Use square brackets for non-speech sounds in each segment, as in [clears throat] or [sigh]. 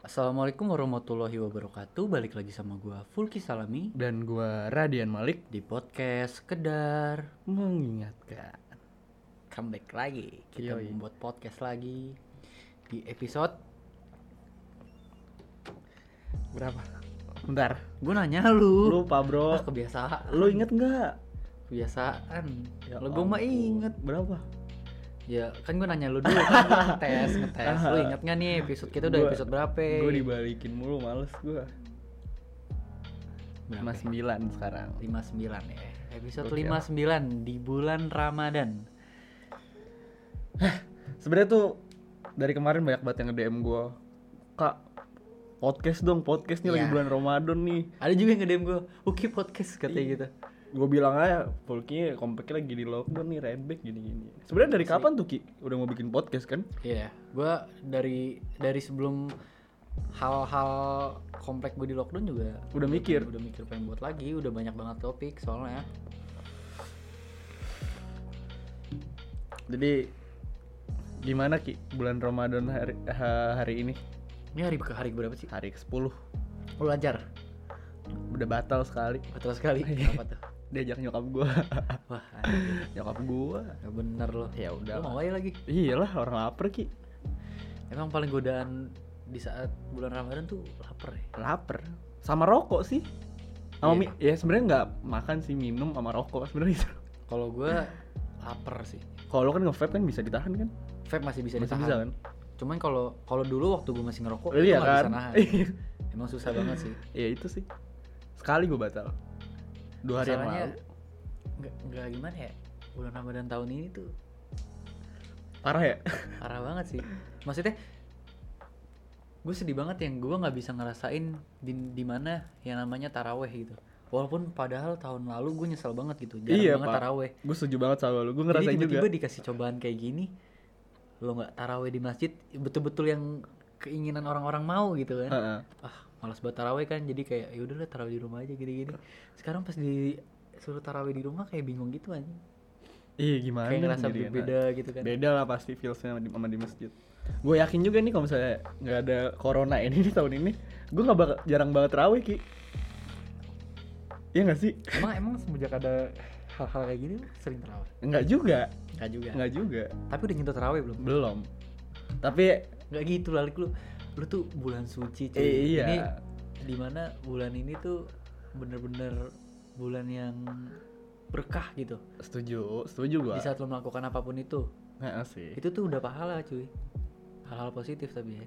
Assalamualaikum warahmatullahi wabarakatuh. Balik lagi sama gua Fulki Salami dan gua Radian Malik di podcast Kedar. mengingatkan Comeback lagi. Kita Yoi. membuat podcast lagi di episode berapa? Bentar, gua nanya lu. lupa bro. Ah, kebiasaan. Lu inget nggak? kebiasaan. Ya lu gua mah ampun. inget. Berapa? Ya, kan gua nanya lu dulu kan gua ngetes, ngetes. Lu inget gak nih episode kita udah Gua- episode berapa? Gua dibalikin mulu, males gua. Berapa? 59 sekarang. 59 ya. Episode Gokil. 59 di bulan Ramadan. Sebenarnya tuh dari kemarin banyak banget yang nge-DM gua. Kak, podcast dong, podcast nih lagi Ya. bulan Ramadan nih. Ada juga yang nge-DM gua, "Oke podcast" katanya Iya. gitu. Gua bilang aja, Polki kompaknya lagi di lockdown nih, rebek gini-gini. Sebenarnya dari kapan tuh Ki udah mau bikin podcast kan? Iya, gua dari dari sebelum hal-hal komplek gue di lockdown juga Udah mikir. udah mikir pengen buat lagi, udah banyak banget topik soalnya. ya. Jadi gimana Ki bulan Ramadan hari ha- hari ini? Ini hari ke hari berapa sih? Hari ke-10 Lu Oh, lancar. udah batal sekali Betul sekali. Iya. Apa tuh? diajak nyokap gua. [laughs] Wah, anjing. nyokap gua. nggak bener lo. Ya Lu udah mau aja lagi. Iyalah orang lapar Ki. Emang paling godaan di saat bulan Ramadan tuh lapar ya. Lapar. Sama rokok sih. Iya. Sama mi- ya sebenarnya nggak makan sih minum sama rokok sebenarnya itu. Kalau [clears throat] gua lapar sih. Kalau lo kan nge-vape kan bisa ditahan kan? Vape masih bisa Masih ditahan. bisa kan? Cuman kalau kalau dulu waktu gue masih ngerokok, [laughs] gua iya nggak kan? bisa nahan. Emang susah banget sih. ya itu sih. Sekali gua batal. Dua hari yang Masalahnya, lalu. nggak nggak gimana ya bulan Ramadan tahun ini tuh Parah ya? parah banget sih maksudnya gue sedih banget yang gue nggak bisa ngerasain di, di mana yang namanya taraweh gitu walaupun padahal tahun lalu gue nyesel banget gitu jarang Iya, banget Pak. taraweh Gue setuju banget sama lo. Gue jadi ngerasain juga. tiba-tiba dikasih cobaan kayak gini lo nggak taraweh di masjid betul-betul yang keinginan orang-orang mau gitu kan Heeh. ah malas buat taraweh kan jadi kayak yaudah lah taraweh di rumah aja gini-gini sekarang pas disuruh taraweh di rumah kayak bingung gitu aja Iya gimana? kayak ngerasa sendirian beda gitu aja. kan Beda lah pasti feelsnya sama di, sama di masjid. Gue yakin juga nih kalau misalnya nggak ada corona ini nih tahun ini, gue nggak bakal jarang banget terawih ki. Iya nggak sih? emang emang semenjak ada hal-hal kayak gini lu sering terawih Nggak juga, Enggak juga nggak juga, tapi udah nyentuh terawih belum belum. Tapi Enggak gitu lalik lu lu tuh bulan suci cuy eh, iya, ini dimana bulan ini tuh bener-bener bulan yang berkah gitu setuju, setuju gue. di saat lu melakukan apapun itu Nggak sih. itu tuh udah pahala cuy hal-hal positif tapi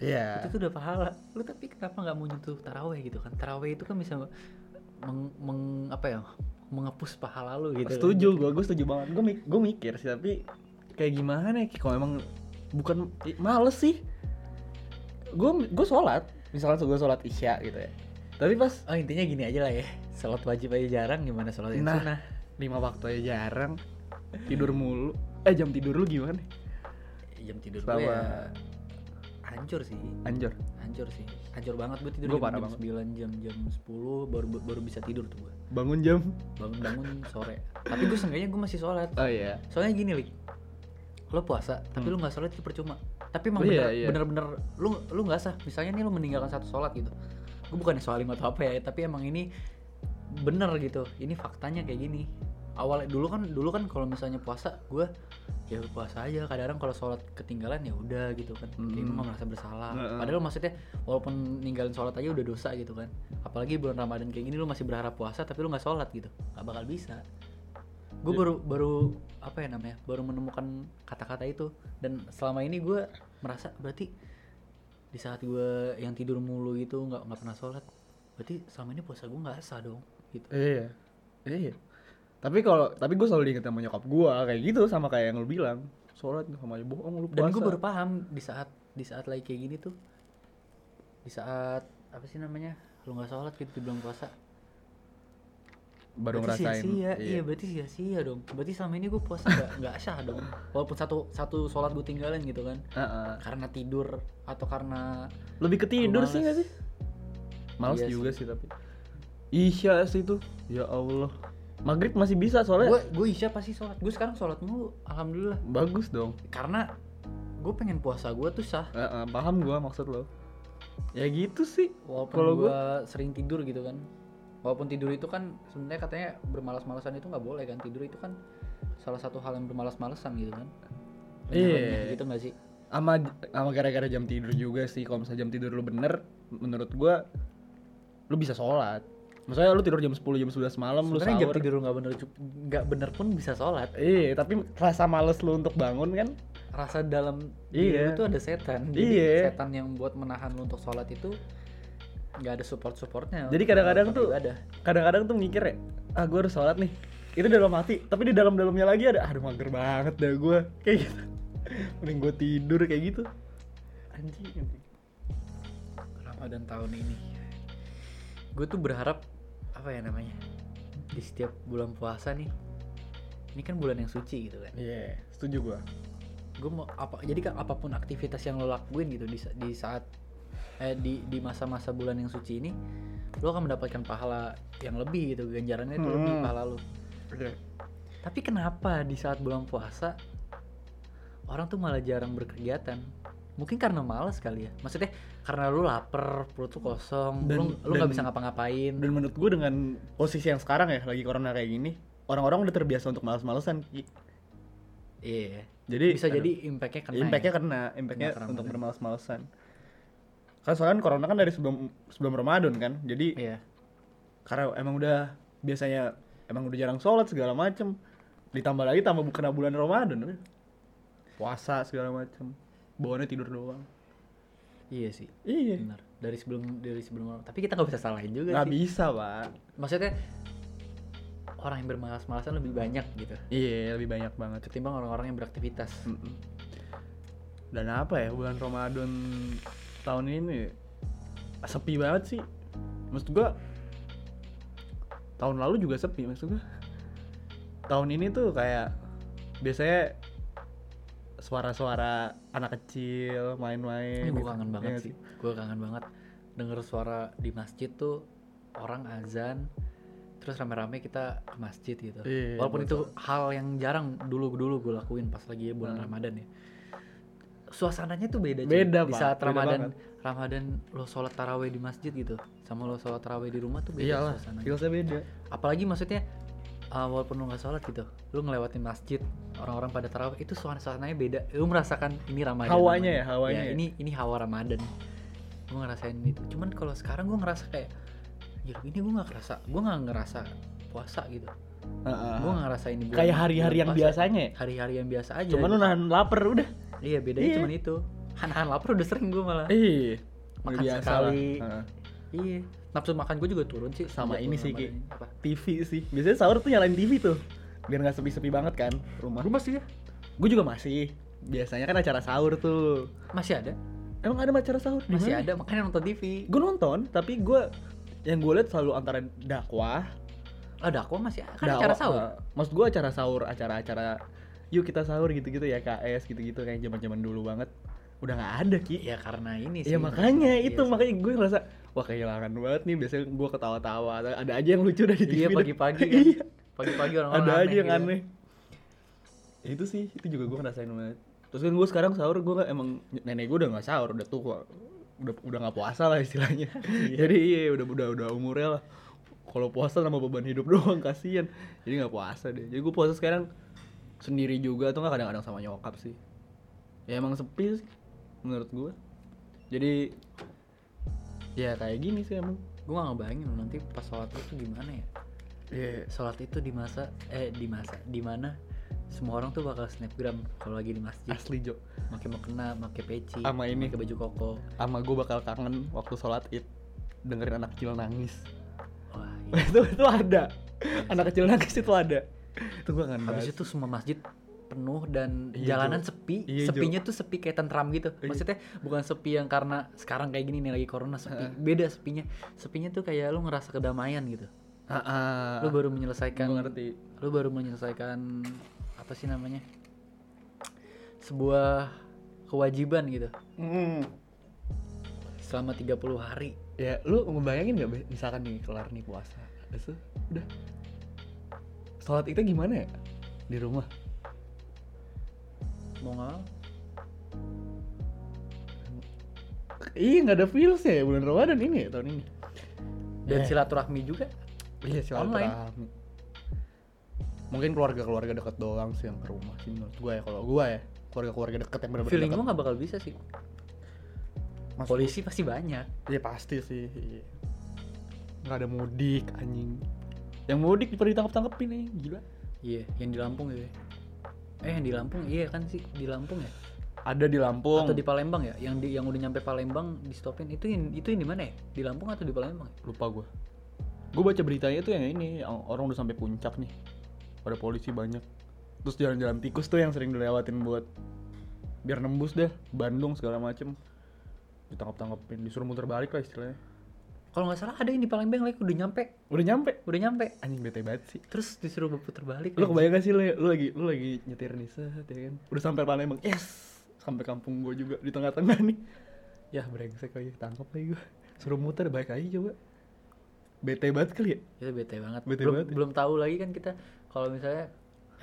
ya itu Iya. tuh udah pahala lu tapi kenapa nggak mau nyentuh taraweh gitu kan taraweh itu kan bisa meng, meng- apa ya mengepus pahala lu gitu kan. Setuju gue, gue setuju banget. Gue gue mikir sih tapi kayak gimana ya Ki? kalau emang bukan i- males sih. Gue gue sholat, misalkan gue sholat isya gitu ya. Tapi pas Oh intinya gini aja lah ya Sholat wajib aja jarang gimana sholat yang Nah. sunnah lima waktu aja jarang tidur mulu eh jam tidur lu gimana Jam tidur Sama- gue ya Hancur sih anjir Hancur sih Hancur banget gue tidur Gua jam, parah jam banget. 9 jam jam 10 baru baru bisa tidur tuh gue bangun jam Bangun-bangun sore Tapi gue seenggaknya gue masih sholat oh iya Soalnya gini Lik Lo puasa tapi lu gak sholat itu percuma Tapi emang Hmm. Oh, iya, bener, iya. bener-bener Lu, lu gak sah Misalnya nih lu meninggalkan satu sholat gitu Gue bukan soal atau apa ya Tapi emang ini bener gitu Ini faktanya kayak gini awal dulu kan dulu kan kalau misalnya puasa gue ya puasa aja kadang kalau sholat ketinggalan ya udah gitu kan Mm. Jadi gue nggak merasa bersalah Heeh. padahal maksudnya walaupun ninggalin sholat aja udah dosa gitu kan apalagi bulan ramadan kayak gini lu masih berharap puasa tapi lu nggak sholat gitu nggak bakal bisa gue Ya. baru baru apa ya namanya baru menemukan kata-kata itu dan selama ini gue merasa berarti di saat gue yang tidur mulu itu nggak nggak pernah sholat berarti selama ini puasa gue nggak sah dong gitu iya iya tapi kalau tapi gue selalu diinget sama nyokap gue kayak gitu sama kayak yang lu bilang sholat sama aja bohong lu puasa dan gue baru paham di saat di saat lagi kayak gini tuh di saat apa sih namanya lu nggak sholat gitu dibilang puasa baru berarti ngerasain sia-sia iya. berarti sia-sia dong berarti selama ini gue puasa nggak nggak sah dong walaupun satu satu sholat gue tinggalin gitu kan Heeh. karena tidur atau karena lebih ke tidur sih nggak sih males Iya juga sih. tapi isya sih itu ya allah maghrib masih bisa soalnya gue gue isya pasti sholat gue sekarang sholat mulu alhamdulillah bagus dong karena gue pengen puasa gue tuh sah Heeh, paham gue maksud lo ya gitu sih walaupun Kalau gua sering tidur gitu kan walaupun tidur itu kan sebenarnya katanya bermalas-malasan itu nggak boleh kan tidur itu kan salah satu hal yang bermalas-malasan gitu kan Beneran Iya. gitu nggak sih ama ama gara-gara jam tidur juga sih kalau misalnya jam tidur lu bener menurut gua lu bisa sholat maksudnya lu tidur jam 10 jam 11 malam lu sebenarnya jam sahur tidur lu nggak bener cu- nggak bener pun bisa sholat iya tapi rasa males lu untuk bangun kan rasa dalam Iya. diri lu tuh ada setan Jadi Iya. setan yang buat menahan lu untuk sholat itu nggak ada support supportnya Jadi kadang-kadang tuh- ada kadang-kadang tuh mikir ya ah gua harus sholat nih itu dalam hati tapi di dalam-dalamnya lagi ada aduh mager banget dah gua kayak gitu [laughs] mending gua tidur kayak gitu anjing anjing Ramadan tahun ini gue tuh berharap apa ya namanya di setiap bulan puasa nih ini kan bulan yang suci gitu kan iya setuju gua gue mau apa jadi kan apapun aktivitas yang lo lakuin gitu di, sa- di saat eh di di masa-masa bulan yang suci ini lo akan mendapatkan pahala yang lebih gitu ganjarannya itu lebih Hmm. pahala lo Iya. tapi kenapa di saat bulan puasa orang tuh malah jarang berkegiatan mungkin karena males kali ya maksudnya karena lu lapar perut tuh kosong Dan- lu lu nggak dan- bisa ngapa-ngapain dan menurut gue dengan posisi yang sekarang ya lagi corona kayak gini orang-orang udah terbiasa untuk malas-malesan Ki. iya jadi bisa aduh, jadi impactnya kena ya. impactnya kena impactnya Kena keramadan. untuk bermalas-malesan kan soalnya kan corona kan dari sebelum sebelum Ramadan kan jadi iya karena emang udah biasanya emang udah jarang sholat segala macem ditambah lagi tambah kena bulan Ramadan puasa segala macem bawaannya tidur doang iya sih iya benar dari sebelum dari sebelum tapi kita nggak bisa salahin juga nggak sih bisa pak maksudnya orang yang bermalas-malasan lebih banyak gitu iya lebih banyak banget ketimbang orang-orang yang beraktivitas Mm-mm. Dan apa ya bulan Ramadan tahun ini sepi banget sih. Maksud gua tahun lalu juga sepi maksud gua. Tahun ini tuh kayak biasanya suara-suara anak kecil main-main. Ini gue gitu. kangen Iya banget nggak sih. Gue kangen banget denger suara di masjid tuh orang azan terus rame-rame kita ke masjid gitu. Iya, Walaupun gua itu hal yang jarang dulu-dulu gue lakuin pas lagi bulan Nah. Ramadan ya. Suasananya tuh beda, Ci. Beda, di Pak. saat Beda Ramadan Ramadan lo sholat taraweh di masjid gitu sama lo sholat taraweh di rumah tuh beda Iyalah, Iya. suasananya. feelsnya beda. Apalagi maksudnya uh, walaupun lo nggak sholat gitu, lo ngelewatin masjid orang-orang pada taraweh itu suasananya beda. Lo merasakan ini Ramadan. Hawanya namanya ya, hawanya. ya, ya. ini ini hawa Ramadan gue ngerasain itu cuman kalau sekarang gue ngerasa kayak ya ini gue nggak ngerasa gue nggak ngerasa puasa gitu Heeh. gue nggak ngerasain ini bulan- Ah. kayak hari-hari bulan yang puasa. biasanya. ya. hari-hari yang biasa aja Cuman lu gitu. nahan lapar udah. iya bedanya Iya. cuman itu han-han lapar udah sering gue malah Iya. Makan biasa sekali. lah. Heeh. iya nafsu makan gue juga turun sih Sama sejak ini bulan sih, Ramadan ini. apa TV sih. Biasanya sahur tuh nyalain TV tuh. Biar nggak sepi-sepi banget kan rumah. rumah sih ya Gue juga masih. Biasanya kan acara sahur tuh. masih ada Emang ada acara sahur di masih mana? ada makanya nonton TV Gue nonton, tapi gue yang gue lihat selalu antara dakwah, ada aku masih kan dakwah- acara sahur eh, maksud gue acara sahur, acara-acara yuk kita sahur gitu-gitu ya KS gitu-gitu kayak zaman-zaman dulu banget. Udah nggak ada ki. ya karena ini sih Ya makanya Iya itu sih. makanya gue ngerasa wah kehilangan banget nih biasanya gue ketawa-tawa ada aja yang lucu dari TV iya dah. [laughs] pagi-pagi kan Iya. pagi-pagi orang-orang ada aja yang gitu. aneh Ya itu sih itu juga gue ngerasain banget terus kan gue sekarang sahur gue emang nenek gue udah nggak sahur udah tua udah udah nggak puasa lah istilahnya jadi iya udah udah udah umurnya lah kalau puasa sama beban hidup [laughs] doang kasihan jadi nggak puasa deh jadi gue puasa sekarang sendiri juga atau nggak kadang-kadang sama nyokap sih ya emang sepi sih menurut gue jadi ya kayak gini sih emang gue gak ngebayangin loh nanti pas sholat itu gimana ya Iya sholat itu di masa eh di masa di mana semua orang tuh bakal snapgram kalau lagi di masjid asli Jo pakai mau kena pakai peci Sama ini. pakai baju koko sama gue bakal kangen waktu sholat id dengerin anak kecil nangis wah iya. [laughs] itu itu ada anak kecil nangis itu ada itu gue kangen habis banget itu semua masjid penuh dan Iya, jalanan Jo. sepi Iya, Jo. sepinya tuh sepi kayak tentram gitu Iya. maksudnya bukan sepi yang karena sekarang kayak gini nih lagi corona sepi beda sepinya sepinya tuh kayak lu ngerasa kedamaian gitu lu Heeh. baru menyelesaikan gue Ah, ngerti lu baru menyelesaikan apa sih namanya sebuah kewajiban gitu selama 30 hari ya lu ngebayangin nggak Be? misalkan nih kelar nih puasa terus tuh, udah sholat itu gimana ya di rumah mau nggak mau, Iya nggak ada feels ya bulan Ramadan ini ya tahun ini. dan Eh. silaturahmi juga Iya Online. silaturahmi. Mungkin keluarga-keluarga deket doang sih yang ke rumah sih menurut gua ya kalau gua ya keluarga-keluarga deket yang benar-benar feeling deket. gue nggak bakal bisa sih Maksud- polisi pasti banyak Iya pasti sih. iya. Nggak ada mudik anjing. Yang mudik pernah ditangkap-tangkepin nih, gila. iya yang di Lampung gitu ya. eh yang di Lampung iya kan sih di Lampung ya Ada di Lampung. atau di Palembang ya yang di yang udah nyampe Palembang di stopin itu yang itu yang di mana ya di Lampung atau di Palembang ya? lupa gua. Gua baca beritanya tuh yang ini, yang orang udah sampai puncak nih. Ada polisi banyak. Terus jalan-jalan tikus tuh yang sering dilewatin buat biar nembus dah Bandung segala macem ditangkap-tangkapin disuruh muter balik lah istilahnya kalau nggak salah ada yang di Palembang lagi udah nyampe udah nyampe udah nyampe anjing bete banget sih terus disuruh putar balik lu kebayang gak sih lu, lu lagi lu lagi nyetir nih set ya kan udah sampai Palembang yes sampai kampung gue juga di tengah-tengah nih ya brengsek lagi tangkap lagi gue suruh muter balik lagi coba bete banget kali ya itu bete banget Bete belum, banget ya. belum tahu lagi kan kita kalau misalnya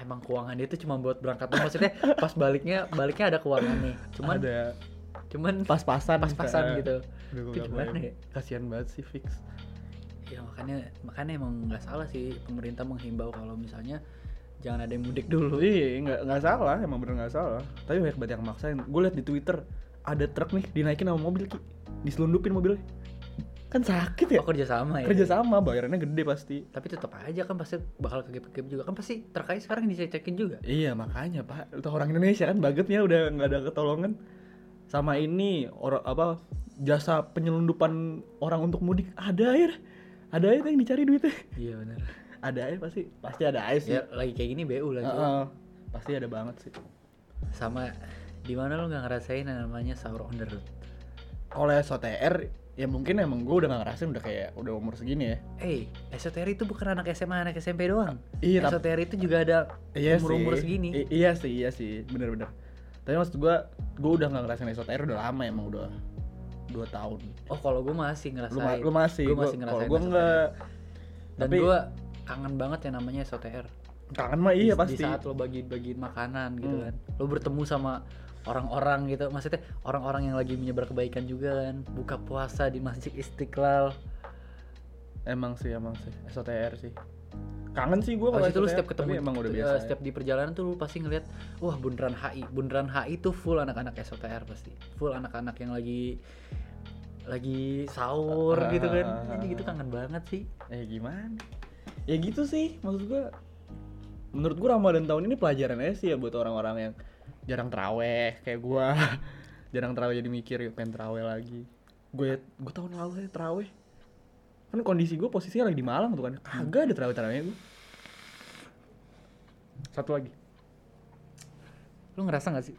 emang keuangan dia itu cuma buat berangkat doang. maksudnya [laughs] pas baliknya baliknya ada keuangan nih cuman ada cuman pas-pasan pas-pasan misalnya. gitu Aduh, gua Itu nggak gimana bayang. ya? kasihan banget sih fix ya makanya makanya emang nggak salah sih pemerintah menghimbau kalau misalnya jangan ada yang mudik dulu iya nggak nggak salah emang bener nggak salah tapi banyak banget yang maksain gue liat di twitter ada truk nih dinaikin sama mobil ki diselundupin mobilnya kan sakit ya oh, kerja sama ya kerjasama bayarannya gede pasti tapi tetap aja kan pasti bakal kegep-kegep juga kan pasti terkait sekarang dicek-cekin juga Iya makanya pak, itu orang Indonesia kan bagetnya udah nggak ada ketolongan sama ini orang apa jasa penyelundupan orang untuk mudik ada air, ada air yang dicari duitnya, [laughs] iya benar ada air pasti pasti ada air sih, ya lagi kayak gini BU lagi Heeh, pasti ada banget sih. sama di mana lo nggak ngerasain yang namanya sahur on the road Oleh SOTR ya mungkin emang gue udah nggak ngerasain udah kayak udah umur segini ya. Eh, esoterik itu bukan anak SMA, anak SMP doang. Iya, tapi- esoterik itu juga ada umur-umur sih. segini. I- iya sih, iya sih, bener-bener. Tapi maksud gue, gue udah nggak ngerasain SOTR udah lama emang udah dua tahun. Oh, kalau gue masih ngerasain. Lu, ma- lu masih, Gue masih Gua- ngerasain. Kalau gue esoterik. nggak Dan tapi- gue kangen banget yang namanya SOTR. Kangen mah iya Di- Di pasti. saat lo bagi-bagiin makanan gitu Hmm. kan. Lo bertemu sama orang-orang gitu. Maksudnya orang-orang yang lagi menyebar kebaikan juga kan. Buka puasa di Masjid Istiqlal. Emang sih, emang sih. SOTR sih. Kangen sih gua kalau Habis itu lu SOTR, setiap ketemu tapi emang udah eh, biasa. ya. setiap di perjalanan tuh lu pasti ngeliat wah bundaran HI. Bundaran HI tuh full anak-anak SOTR pasti. Full anak-anak yang lagi lagi sahur gitu kan. Ah. Ini gitu kangen banget sih. Eh gimana? Ya gitu sih, maksud gua menurut gua Ramadan tahun ini pelajaran aja sih ya buat orang-orang yang jarang traweh kayak gua. [laughs] jarang traweh jadi mikir "Yuk, pengen traweh lagi. Gue gue tahun lalu ya traweh. Kan kondisi gua posisinya lagi di Malang tuh kan. Kagak ada traweh-trawehnya gua. Satu lagi. Lu ngerasa gak sih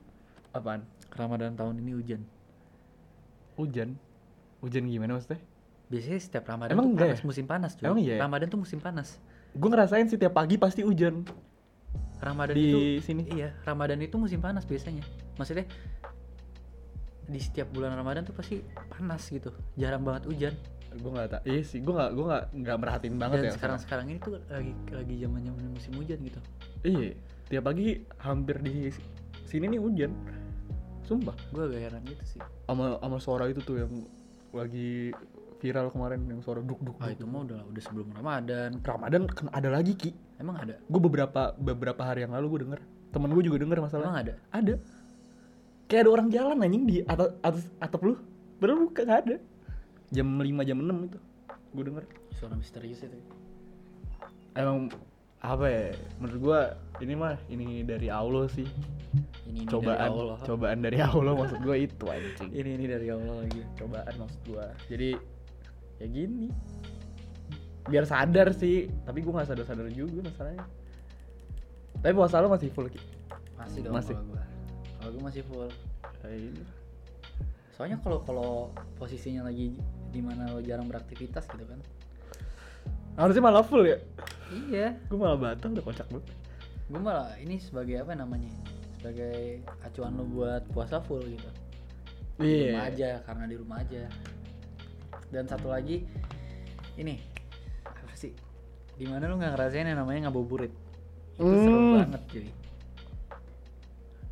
Apaan? Ramadan tahun ini hujan? Hujan. Hujan gimana maksudnya? Biasanya setiap Ramadan Emang tuh enggak panas, ya? musim panas cuy. Emang iya ya? Ramadan tuh musim panas. Gue ngerasain sih tiap pagi pasti hujan. Ramadan Di itu sini? Iya, Ramadan itu musim panas biasanya. Maksudnya di setiap bulan Ramadan tuh pasti panas gitu. Jarang banget hujan. gue nggak tak iya sih gue nggak gue nggak nggak merhatiin banget Dan ya sekarang-sekarang ini tuh lagi lagi zaman-zaman musim hujan gitu. iya tiap pagi hampir di sini nih hujan sumpah Gue agak heran gitu sih. sama sama suara itu tuh yang lagi viral kemarin yang suara duk duk, Ah duk. itu mah udah udah sebelum Ramadan. Ramadan kan ada lagi ki Emang ada? gue beberapa beberapa hari yang lalu gue denger temen gue juga denger Emang masalah ada? ada kayak ada orang jalan anjing di atas atas atap lu padahal bukan nggak ada jam 5 jam 6 itu gue denger Suara misterius itu. emang apa ya menurut gua ini mah ini dari Allah sih Ini, ini cobaan dari Allah. cobaan dari Allah maksud gua itu anjing Ini ini dari Allah lagi. Iya, cobaan maksud gua jadi ya gini biar sadar sih tapi gua nggak sadar sadar juga masalahnya tapi puasa lo masih full Ki? Masih dong Masih. kalau gue. Kalau gue masih full. Kayak gini. Soalnya kalau kalau posisinya lagi di mana lo jarang beraktivitas gitu kan. harusnya malah full ya Iya, gua malah batal udah kocak banget gue malah ini sebagai apa namanya ya? sebagai acuan lo buat puasa full gitu Iya. di rumah aja karena di rumah aja dan satu lagi ini apa sih dimana lo nggak ngerasain yang namanya ngabuburit itu seru Hmm. banget jadi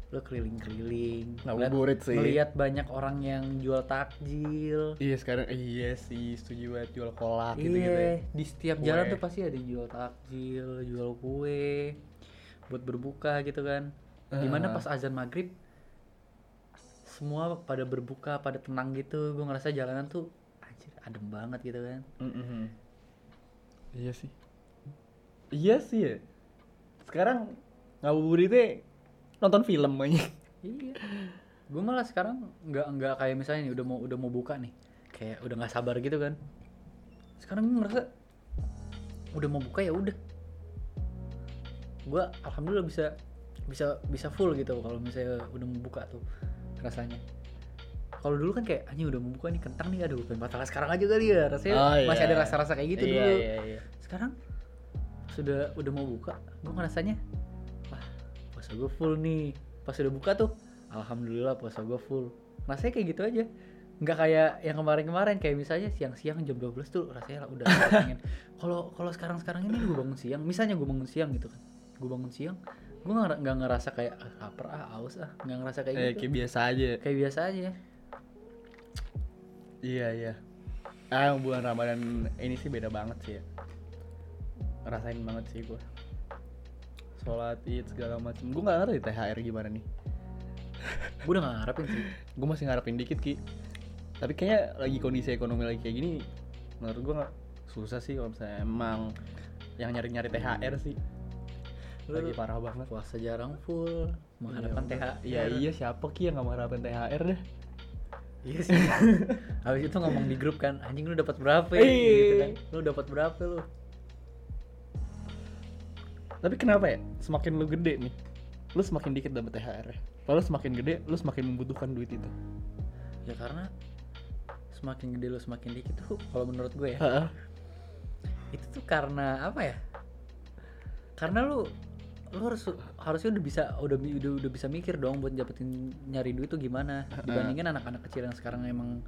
lo keliling-keliling Ngabuburit sih. melihat banyak orang yang jual takjil Iya sekarang iya sih setuju banget jual kolak iya gitu gitu. di setiap Kue. jalan tuh pasti ada yang jual takjil jual kue buat berbuka gitu kan dimana Ah. pas azan maghrib semua pada berbuka pada tenang gitu gue ngerasa jalanan tuh anjir adem banget gitu kan Iya sih. Iya sih ya. Sekarang ngabuburitnya nonton film aja. Iya. Gue malah sekarang nggak nggak kayak misalnya nih udah mau udah mau buka nih, kayak udah nggak sabar gitu kan. Sekarang gue ngerasa udah mau buka ya udah. Gue alhamdulillah bisa bisa bisa full gitu kalau misalnya udah mau buka tuh rasanya. Kalau dulu kan kayak anjing udah mau buka nih kentang nih aduh pengen batal sekarang aja kali ya rasanya Oh, iya. masih ada rasa-rasa kayak gitu iya, dulu. Iya, iya. Sekarang sudah udah mau buka, gue ngerasanya wah puasa gue full nih. Pas udah buka tuh, alhamdulillah puasa gue full. Rasanya kayak gitu aja. Nggak kayak yang kemarin-kemarin kayak misalnya siang-siang jam 12 tuh rasanya lah udah [laughs] pengen. Kalau kalau sekarang-sekarang ini gue bangun siang, misalnya gue bangun siang gitu kan. Gue bangun siang, gue nggak nggak ngerasa kayak ah, lapar ah, aus ah, nggak ngerasa kayak Eh, gitu. kayak biasa aja. Kayak biasa aja. Iya, iya. Ah, bulan Ramadan ini sih beda banget sih ya. Ngerasain banget sih gua. Sholat id segala macem. Gua nggak ngerti THR gimana nih. Gue udah nggak ngarepin sih. Gua masih ngarepin dikit ki. Tapi kayaknya lagi kondisi ekonomi lagi kayak gini, menurut gua nggak susah sih kalau misalnya emang yang nyari-nyari THR sih Lu lagi parah banget. puasa jarang full, mengharapkan THR. Iya iya siapa ki yang nggak mengharapkan THR deh? Iya sih. [laughs] Habis itu ngomong di grup kan, anjing lu dapat berapa ya? Iya. gitu kan. Lu dapat berapa lu? Tapi kenapa ya? Semakin lu gede nih, lu semakin dikit dapet THR. -nya. ya? Kalau lu semakin gede, lu semakin membutuhkan duit itu. Ya karena semakin gede lu semakin dikit tuh kalau menurut gue ya. Heeh. Itu tuh karena apa ya? Karena lu lu harus harusnya udah bisa udah bi- udah, udah bisa mikir dong buat dapetin nyari duit tuh gimana dibandingin anak-anak kecil yang sekarang emang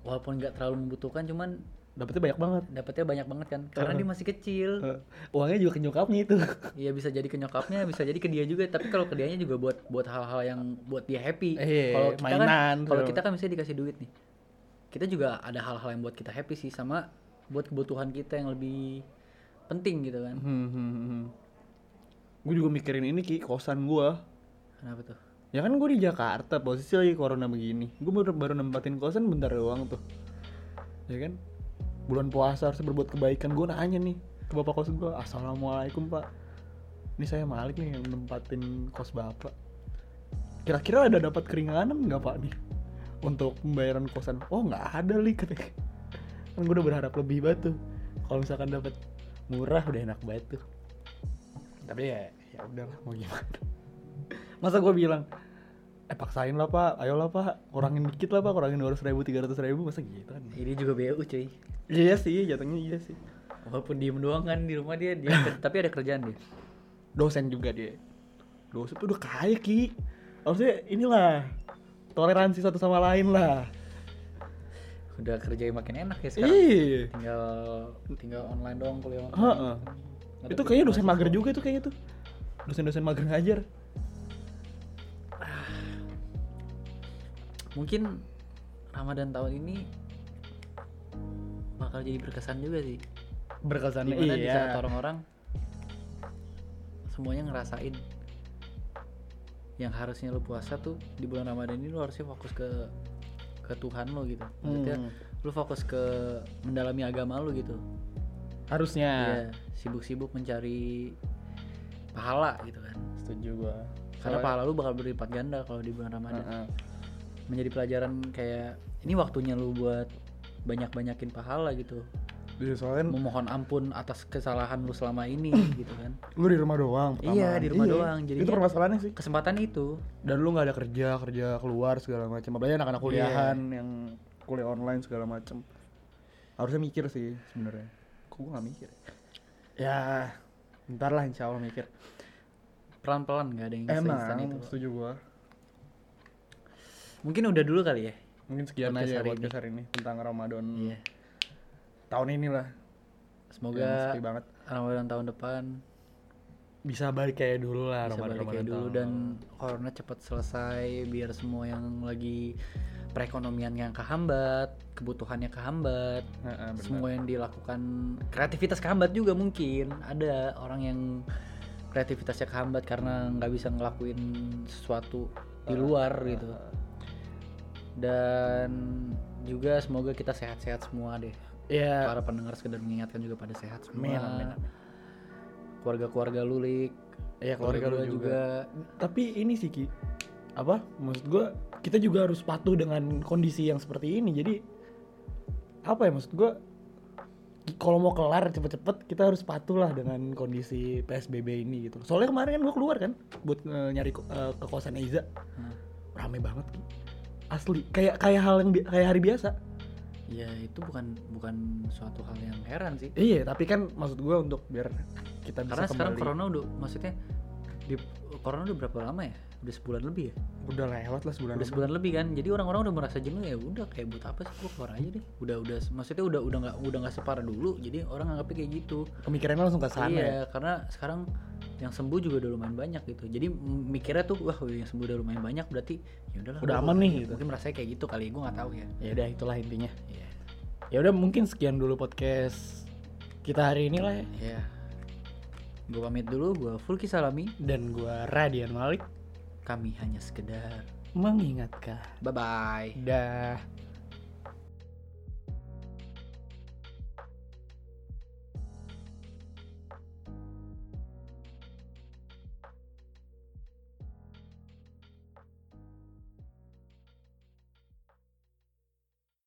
walaupun nggak terlalu membutuhkan cuman Dapetnya banyak banget. dapetnya banyak banget kan karena Heeh. dia masih kecil Heeh. Uangnya juga ke nyokapnya itu. Iya bisa jadi ke nyokapnya, bisa jadi ke dia juga. Tapi kalau ke dianya juga buat buat hal-hal yang buat dia happy. [laughs] Eh, kalau kita mainan, kan, kalau segala kita kan misalnya dikasih duit nih, kita juga ada hal-hal yang buat kita happy sih sama buat kebutuhan kita yang lebih penting gitu Hmm, kan. gue juga mikirin ini ki kosan gua Kenapa tuh? Ya kan gue di Jakarta, posisi lagi corona begini. Gue baru, baru nempatin kosan bentar doang tuh. Ya kan? Bulan puasa harus berbuat kebaikan. Gue nanya nih ke bapak kos gue, Assalamualaikum pak. Ini saya Malik nih yang nempatin kos bapak. Kira-kira ada dapat keringanan nggak pak nih? Untuk pembayaran kosan? Oh nggak ada li katanya. Kan gue udah berharap lebih banget tuh. Kalau misalkan dapat murah udah enak banget tuh. Tapi ya ya udahlah mau gimana [laughs] masa gue bilang eh paksain lah pak ayolah pak kurangin dikit lah pak kurangin dua ribu tiga ratus ribu masa gitu kan Ini juga BU cuy. iya sih jatuhnya iya sih Walaupun diem doang kan di rumah dia, [laughs] dia tapi ada kerjaan dia. dosen juga dia dosen tuh udah kaya ki harusnya inilah toleransi satu sama lain lah Udah kerjanya makin enak ya sekarang. iya Tinggal tinggal online doang kuliah online. Heeh. Nggak itu ada kayaknya dosen mahasiswa. mager juga itu kayaknya tuh dosen-dosen mager ngajar mungkin Ramadan tahun ini bakal jadi berkesan juga sih berkesan dimana di saat iya orang-orang semuanya ngerasain yang harusnya lu puasa tuh di bulan Ramadan ini lu harusnya fokus ke ke Tuhan lo gitu maksudnya Hmm. lu fokus ke mendalami agama lu gitu Iya, harusnya sibuk-sibuk mencari pahala gitu kan setuju gua karena Soalnya- pahala lu bakal berlipat ganda kalau di bulan Ramadan Heeh. menjadi pelajaran kayak ini waktunya lu buat banyak-banyakin pahala gitu Iya, soalnya memohon ampun atas kesalahan lu selama ini gitu kan lu di rumah doang Iya, di rumah doang, itu jadinya- permasalahannya sih kesempatan itu dan lu nggak ada kerja kerja keluar segala macam apalagi anak-anak kuliahan yang kuliah online segala macam harusnya mikir sih sebenarnya kok gue nggak mikir ya ntar lah insya Allah mikir pelan-pelan nggak ada yang instan emang itu setuju gua mungkin udah dulu kali ya mungkin sekian Podcast aja hari buat hari ini tentang Ramadan iya tahun ini lah semoga Iya, yang sepi banget Ramadan tahun depan bisa balik kayak dulu lah bisa Ah, Ramadan balik kayak Ramadan dulu tahun. dan corona cepat selesai biar semua yang lagi perekonomian yang kehambat kebutuhannya kehambat Heeh, benar. semua yang dilakukan kreativitas kehambat juga mungkin ada orang yang kreativitasnya kehambat karena nggak bisa ngelakuin sesuatu di Ah, luar gitu dan juga semoga kita sehat-sehat semua deh ya para pendengar sekedar mengingatkan juga pada sehat semua Amin, amin, keluarga-keluarga lu lik ya keluarga lu gua juga. tapi ini sih Ki apa maksud gua kita juga harus patuh dengan kondisi yang seperti ini jadi apa ya maksud gua kalau mau kelar cepet-cepet kita harus patuh lah dengan kondisi PSBB ini gitu soalnya kemarin kan gua keluar kan buat eh, nyari ko- eh, ke kosan Iza Hmm. rame banget Ki. asli kayak kayak hal yang bi- kayak hari biasa ya itu bukan bukan suatu hal yang heran sih iya tapi kan maksud gua untuk biar kita bisa karena sekarang kembali corona udah maksudnya di corona udah berapa lama ya udah sebulan lebih ya udah lewat lah sebulan udah lebih. sebulan lebih kan jadi orang-orang udah merasa jenuh ya udah kayak buat apa sih gua keluar aja deh udah udah maksudnya udah udah nggak udah nggak separah dulu jadi orang anggapnya kayak gitu pemikirannya langsung ke sana iya ya karena sekarang yang sembuh juga udah lumayan banyak gitu jadi m- mikirnya tuh wah yang sembuh udah lumayan banyak berarti ya udahlah Udah gua- aman nih, gitu. mungkin merasa kayak gitu kali gue nggak tahu ya ya udah itulah intinya Iya. ya udah mungkin sekian dulu podcast kita hari ini lah ya. Iya. Gue pamit dulu, gue Fulki Salami. dan gua Radian Malik Kami hanya sekedar. mengingatkan Bye-bye. dah